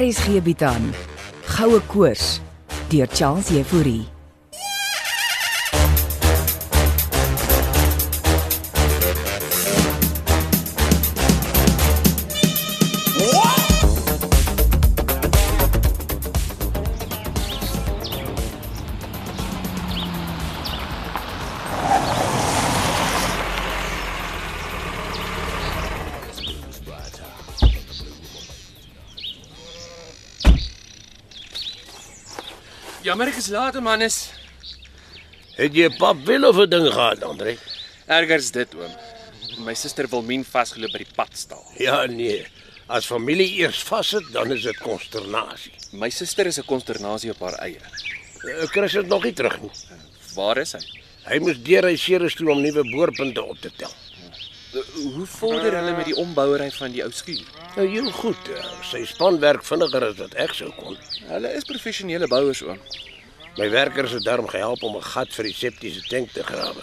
RSG bied aan Goue Koors deur Charles Euphorie. Jammer ek is laat, mannes. Het jy pap wel of 'n ding gehad, Andre? Ergers dit oom. My suster Wilmien vasgeloop by die padstal. Ja, nee. As familie eers vassit, dan is dit konsternasie. My suster is 'n konsternasie op haar eie. Eh, Chris is nog nie terug nie. Waar is hy? Hy moes deur hy series toe om nuwe boorpunte op te tel. Eh, Hoe vorder hulle met die ombouery van die ou skuur? Nou heel goed, eh, sy span werk vinniger as wat ek sou kon. Hulle is professionele bouers oom. My werkers het daarom gehelp om 'n gat vir die septiese tank te grawe.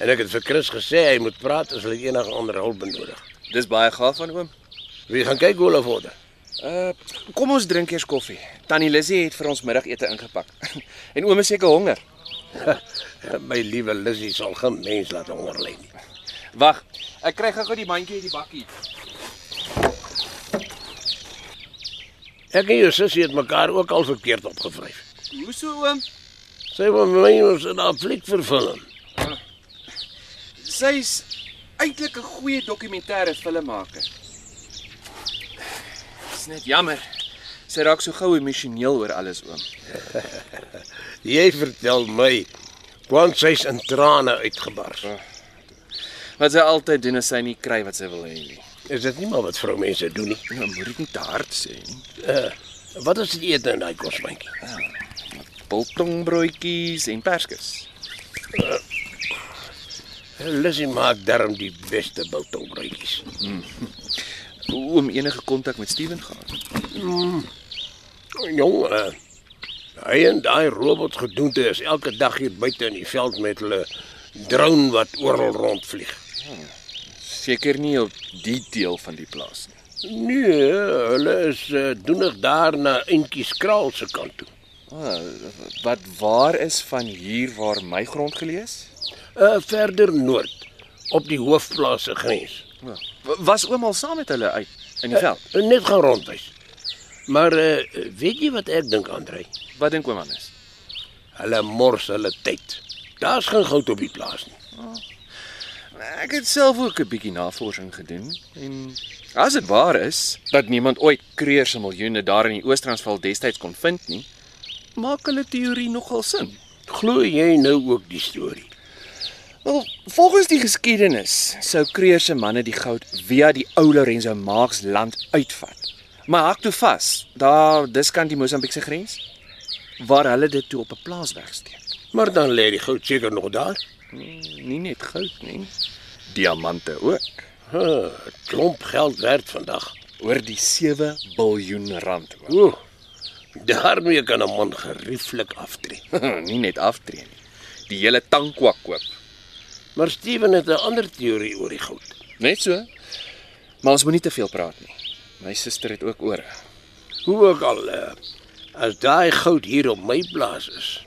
En ek het vir Chris gesê hy moet praat as hulle enige ander hulp benodig. Dis baie gaaf van oom. Wie gaan kyk hoe hulle vorder? Uh kom ons drink eers koffie. Tannie Lizzie het vir ons middagete ingepak. en oom is seker honger. Eh, My liewe Lissy sal geen mens laat honger lê nie. Wag, ek kry gou-gou die mandjie uit die bakkie. Ek en jou sussie het mekaar ook al verkeerd opgevryf. Hoe so oom? Sy wou vir my ons in haar fliek vervilm. Sy's eintlik 'n goeie dokumentêre filmmaker. Dis net jammer. Sy raak so gou emosioneel oor alles oom. Jy vertel my want sy's in trane uitgebars. Wat sy altyd doen as sy nie kry wat sy wil hê nie. Is dit nie maar wat vroumense doen nie? Nou moet dit nie te hard sê nie. Wat is die ete in daai kosmandjie? Biltongbroodjies en perskes. Lissy maak darm die beste biltongbroodjies. Oom enige kontak met Steven gehad? Jong, uh, hy en daai robot gedoente is elke dag hier buite in die veld met hulle drone wat oral rondvlieg. Seker nie op die deel van die plaas nie. Nee, hulle is uh, doenig daar na Intjie Skraal se kant toe. Ah, wat waar is van hier waar my grond geleë is? Uh, verder noord op die hoofplaas se grens. Ja. Was oom al saam met hulle uit in die veld? En Net gaan rondwys. Maar uh, weet jy wat ek dink, Andre? Wat dink oom anders? Hulle mors hulle tyd. Daar's geen goud op die plaas nie. Ek het self ook 'n bietjie navorsing gedoen en as dit waar is dat niemand ooit kreer se miljoene daar in die Oos-Transvaal destyds kon vind nie, maak hulle teorie nogal sin. Glo jy nou ook die storie? Wel, volgens die geskiedenis sou kreer se manne die goud via die ou Lorenzo Marx land uitvat. Maar hak toe vas, daar dis kan die Mosambiekse grens waar hulle dit toe op 'n plaas wegsteek. Maar dan lê die goud seker nog daar. Nie net goud nie, diamante ook. Huh, klomp geld werd vandag. Oor die 7 biljoen rand. Hoor. Ooh. Daarmee kan 'n man gerieflik aftree. Hm, nie net aftree nie. Die hele tankwa koop. Maar Steven het 'n ander teorie oor die goud. Net so. Maar ons moenie te veel praat nie. My suster het ook ore. Hoe ook al, uh, as daai goud hier op my plaas is,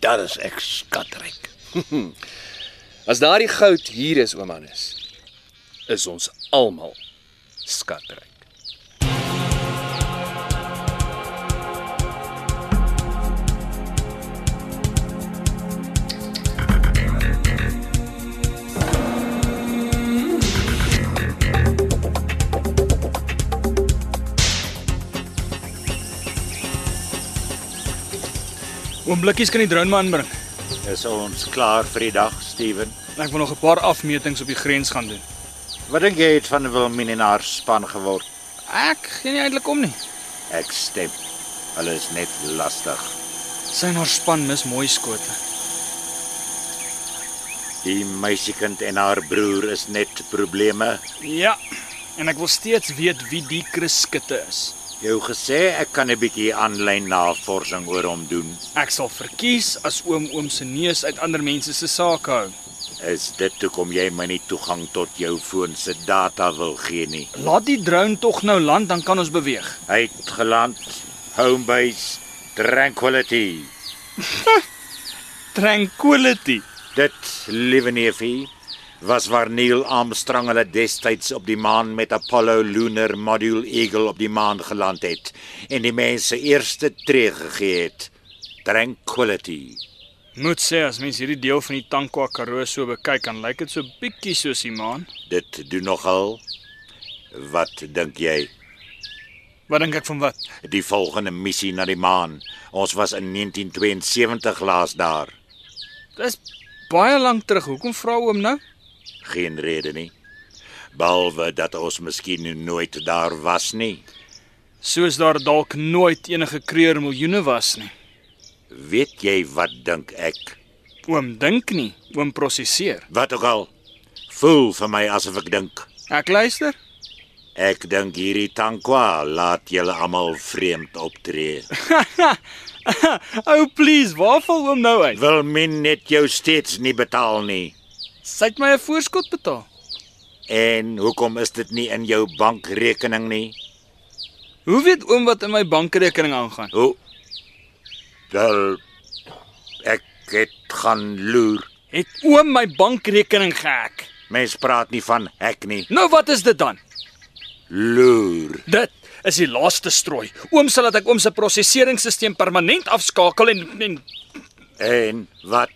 dan is ek skatryk. As daardie goud hier is, oom Hannes, is ons almal skatryk. Oom Blikkies kan die drone maar inbring. Is ons klaar vir die dag, Steven? Ek wil nog 'n paar afmetings op die grens gaan doen. Wat dink jy het van Wilmien en haar span geword? Ek gee nie eintlik om nie. Ek stem. Hulle is net lastig. Sy en haar span mis mooi skote. Die meisiekind en haar broer is net probleme. Ja. En ek wil steeds weet wie die Chris Skutte is. Jou gesê ek kan 'n bietjie aanlyn navorsing oor hom doen. Ek sal verkies as oom oom se neus uit ander mense se sake hou. Is dit hoekom jy my nie toegang tot jou foon se data wil gee nie? Laat die drone tog nou land, dan kan ons beweeg. Hy het geland, home base, tranquility. Tranquility. Dit, liewe neefie, was waar Neil Armstrong hulle destyds op die maan met Apollo Lunar Module Eagle op die maan geland het en die mense eerste tree gegee het. Tranquility. Moet sê as mens hierdie deel van die Tankwa Karoo so bekyk, dan lyk dit so bietjie soos die maan. Dit doen nogal. Wat dink jy? Wat dink ek van wat? Die volgende missie na die maan. Ons was in 1972 laas daar. Dis baie lank terug. Hoekom vra oom nou? Geen rede nie. Behalwe dat ons miskien nooit daar was nie. Soos daar dalk nooit enige kreur miljoene was nie. Weet jy wat dink ek? Oom dink nie, oom prosesseer. Wat ook al. Voel vir my asof ek dink. Ek luister. Ek dink hierdie Tankwa laat julle almal vreemd optree. Ou oh, please, waar val oom nou uit? Wil min net jou steeds nie betaal nie. Sy het my 'n voorskot betaal. En hoekom is dit nie in jou bankrekening nie? Hoe weet oom wat in my bankrekening aangaan? Hoe? Wel ek het gaan loer. Het oom my bankrekening gehack? Mens praat nie van hek nie. Nou wat is dit dan? Loer. Dit is die laaste strooi. Oom sal dat ek oom se prosesseringsstelsel permanent afskakel en en En wat?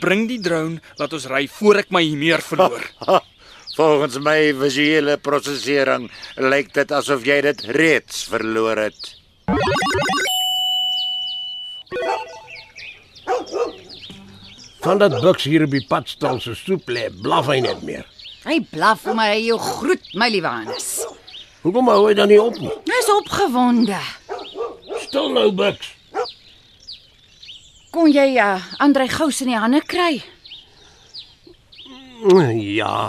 bring die drone laat ons ry voor ek my meer verloor. Ha, volgens my visuele prosesering lyk dit asof jy dit reeds verloor het. Van dat buks hier op die pad staan se soep lê, blaf hy net meer. Hy blaf maar hy jou groet, my liewe Hannes. Hoekom hou hy dan nie op nie? Hy's opgewonde. Stil nou, buks. Kon jy uh, Andrei Gous in die hande kry? Ja,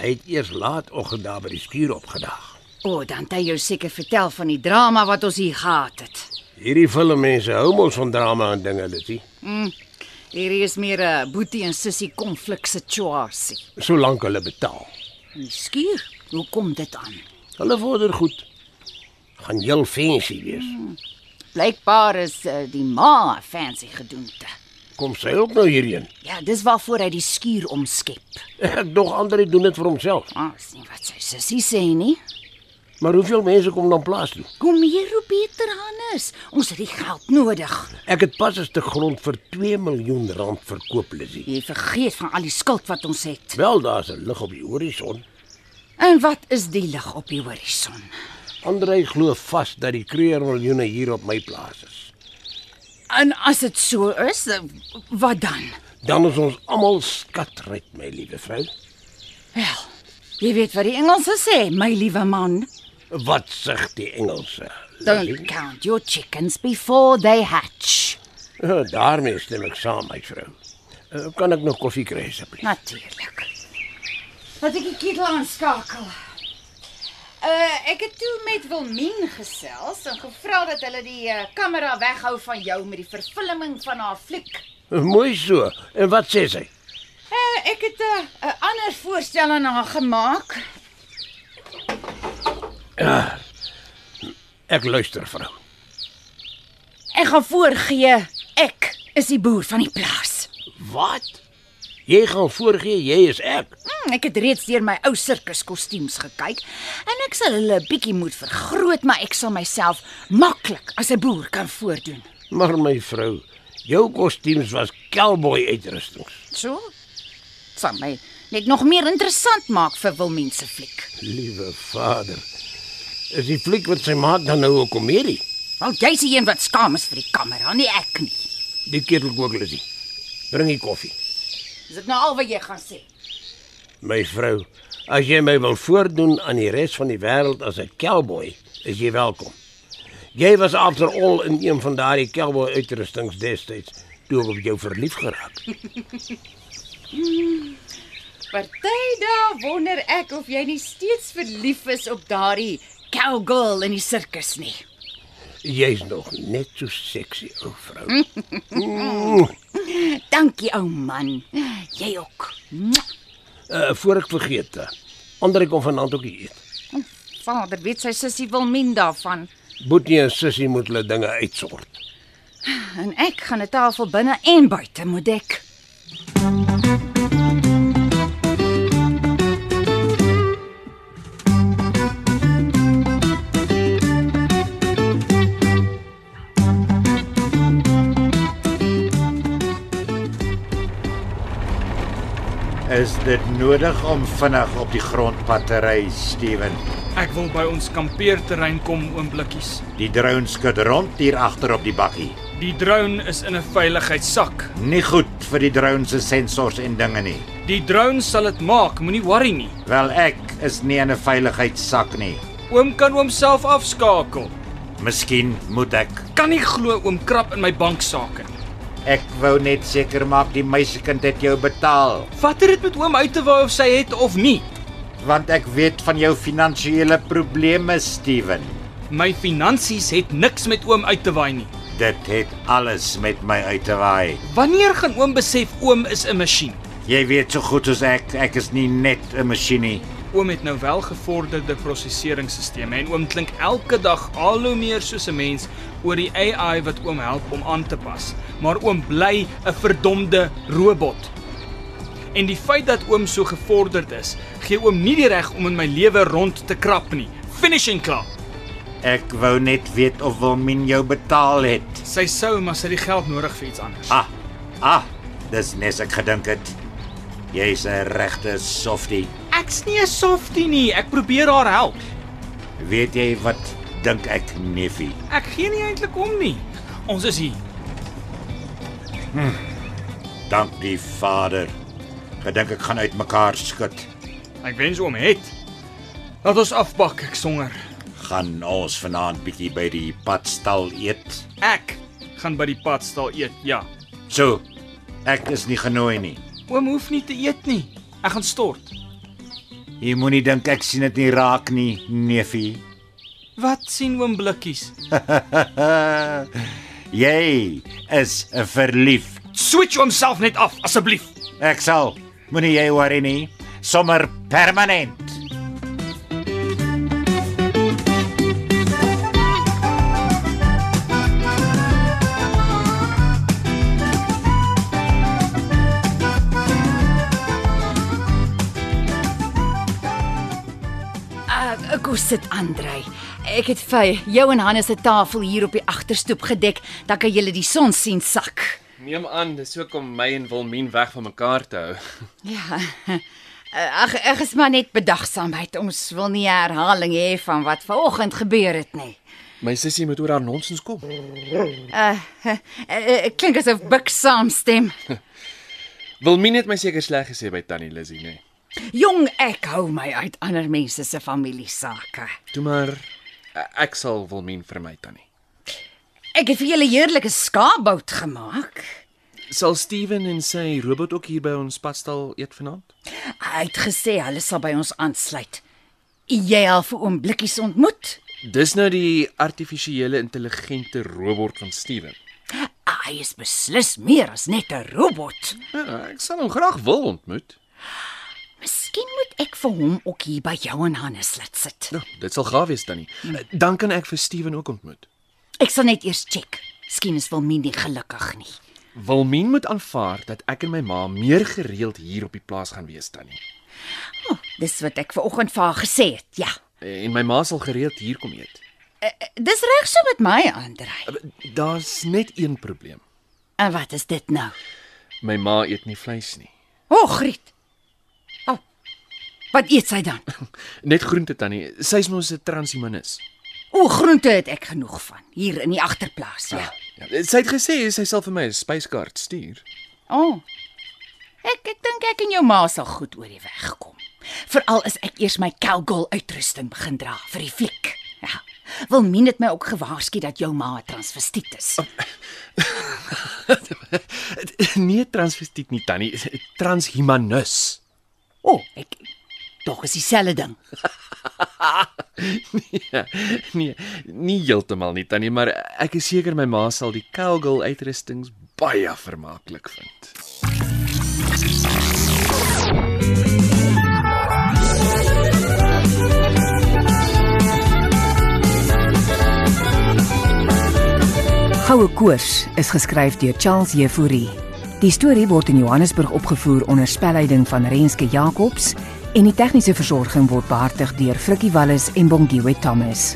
hy het eers laatoggend daar by die skuur opgedag. O, oh, dan het hy jou seker vertel van die drama wat ons hier gehad het. Hierdie filmmense hou mos van drama en dinge, Litty. Hierdie is meer 'n boetie en sussie konflik situasie. Solank hulle betaal. Die skuur, hoe kom dit aan? Hulle vorder goed. Gaan heel fancy wees. Blykbaar is uh, die ma 'n fancy gedoente. Kom sy ook nou hierheen. Ja, dis waarvoor hy die skuur omskep. Ek dog ander doen dit vir homself. Ah, sien wat sy sussie sê nie. Maar hoeveel mense kom dan plaas toe? Kom hier, hoe beter Hannes. Ons het die geld nodig. Ek het pas 'n stuk grond vir 2 miljoen rand verkoop, Litty. Jy vergeet van al die skuld wat ons het. Wel, daar's 'n lig op die horison. En wat is die lig op die horison? Andrei glo vas dat die kreer miljoene hier op my plaas is. En as dit so is, eh, wat dan? Dan is ons almal skatryk, my liewe vrou. Wel, jy weet wat die Engelse sê, my liewe man. Wat sê die Engelse? Don't count your chickens before they hatch. Ja, daarmee stem ek saam, my vrou. Eh, Kan ek nog koffie kry asseblief? Natuurlik. Wat ek die ketel aanskakel. Uh ek het toe met Wilmien gesels en gevra dat hulle die eh, kamera weghou van jou met die vervilming van haar fliek. Eh, Mooi so. En wat sê sy? Uh ek het 'n uh, 'n ander voorstel aan haar gemaak. Ek luister, vrou. Ek gaan voorgee ek is die boer van die plaas. Wat? Jy gaan voorgee jy is ek. Hmm, ek het reeds deur my ou sirkuskostuums gekyk en ek sal hulle 'n bietjie moet vergroot, maar ek sal myself maklik as 'n boer kan voordoen. Maar my vrou, jou kostuums was cowboy uitrustings. So? Sal my net nog meer interessant maak vir Wilmien se fliek. Liewe vader. Is die fliek wat sy maak dan nou 'n komedie? Want jy's die een wat skaam is vir die kamera, nie ek nie. Die ketel kook Lizzie. Bring die koffie. Is dit nou al wat jy gaan sê? My vrou, as jy my wil voordoen aan die res van die wêreld as 'n cowboy, is jy welkom. Jy was after all in een van daardie cowboy uitrustings destyds toe ek op jou verlief geraak. Partydae wonder ek of jy nie steeds verlief is op daardie cowgirl in die sirkus nie. Jy's nog net so seksie, ou vrou. Mm. Dankie ou man. Jy ook. Uh, voor ek vergeet. eh, Andre kom vanaand ook hier eet. Vader weet sy sussie Wilmien daarvan Boetie en Sissie moet hulle dinge uitsort. en ek gaan 'n tafel binne en buite moet dek. Is dit nodig om vinnig op die grondpad te ry, Steven? Ek wil by ons kampeerterrein kom oom blikkies. Die drone skud rond hier agter op die bakkie. Die drone is in 'n veiligheidssak. Nie goed vir die drone se sensors en dinge nie. Die drone sal dit maak, moenie worry nie. Wel ek is nie in 'n veiligheidssak nie. Oom kan homself afskakel. Miskien moet ek. Kan nie glo oom krap in my banksaake nie. Ek wou net seker maak die meisiekind het jou betaal, Wat het dit met oom uit te waai of sy het of nie? want ek weet van jou finansiële probleme, Steven. My finansies het niks met oom uit te waai nie. Dit het alles met my uit te waai. Wanneer gaan oom besef oom is 'n masjien? Jy weet so goed as ek, ek is nie net 'n masjien nie. Oom het nou wel gevorderde prosesseringsstelsels en oom klink elke dag al hoe meer soos 'n mens oor die AI wat oom help om aan te pas. Maar oom bly 'n verdomde robot. En die feit dat oom so gevorderd is, gee oom nie die reg om in my lewe rond te krap nie. Finish en klaar. Ek wou net weet of Wilmin jou betaal het. Sy sou maar sy het die geld nodig vir iets anders. Ah. Ah, dis nes ek gedink het. Jy's 'n regte softie. Ek's nie 'n softie nie. Ek probeer haar help. Weet jy wat dink ek, Neffie? Ek gee nie eintlik om nie. Ons is hier. Dank die Vader. Gedink ek gaan uitmekaar skud. Ek wens oom het. Laat ons afpak, ek songer. Gaan ons vanaand bietjie by die padstal eet. Ek gaan by die padstal eet, ja. So, ek is nie genooi nie. Oom hoef nie te eet nie. Ek gaan stort. Jy moenie dink ek sien dit nie raak nie, Neffie. Wat sien oom blikkies? jy is verlief. Switch homself net af asseblief. Ek sal. Moenie jy worry nie. Sommer permanent. Uh, kom sit Andrej. Ek het vir jou en Hannes se tafel hier op die agterstoep gedek, dan kan julle die son sien sak. Neem aan dis ook om my en Wilmien weg van mekaar te hou. Ja. Ag, ek is maar net bedagsaamheid. Ons wil nie herhaling hê van wat vanoggend gebeur het nie. My sussie moet oor haar nonsens kom. Uh, uh, uh, klink asof Buck saamstem. Wilmien het my seker sleg gesê by Tannie Lizzie, nê. Nee. Jong, ek hou my uit ander mense se familiesake. Toe maar e- ek sal Wilmien vermy Tannie. Ek het vir julle heerlike skaapbout gemaak. Sal Steven en sy robot ook hier by ons padstal eet vanaand? Hy het gesê hulle sal by ons aansluit. Jy al vir oom blikkies ontmoet? Dis nou die artifisiële intelligente robot van Steven. Ah, Hy is beslis meer as net 'n robot. Ja, ek sal hom graag wil ontmoet. Miskien moet ek vir hom ook hier by jou en Hannes laat sit. Ja, dit sal gaaf wees Tannie. Eh, Dan kan ek vir Steven ook ontmoet. Ek sal net eers check. Miskien is Wilmien nie gelukkig nie. Wilmien moet aanvaar dat ek en my ma meer gereeld hier op die plaas gaan wees Tannie. Oh, dis wat ek ver oggend vir haar gesê het. Ja. En my ma sal gereeld hier kom eet. Eh, Eh, Dis reg so met my, Andrej. Daar's net een probleem. En wat is dit nou? My ma eet nie vleis nie. O, Griet. O. Wat eet sy dan? Net groente tannie. Sy's mos 'n transhumanis. O, groente het ek genoeg van hier in die agterplaas, ja. Ja, sy het gesê sy sal vir my 'n spyskaart stuur. O. Ek ek dink ek en jou ma sal goed oor die weg kom. Veral as ek eers my Calgol uitrusting begin dra vir die fliek. Ja. Wilmien het my ook gewaarsku dat jou ma 'n transvestiet is. nee, transvestiet nie tannie, Eh, transhumanis. O, ek tog is dieselfde ding. Ja, nee, nie heeltemal nie tannie, maar ek is seker my ma sal die Kelgel uitrustings baie vermaaklik vind. Goue koers is geskryf deur Charles Jefouri. Die storie word in Johannesburg opgevoer onder spelleiding van Renske Jacobs en die tegniese versorging word behartig deur Frikkie Wallis en Bongwe Thomas.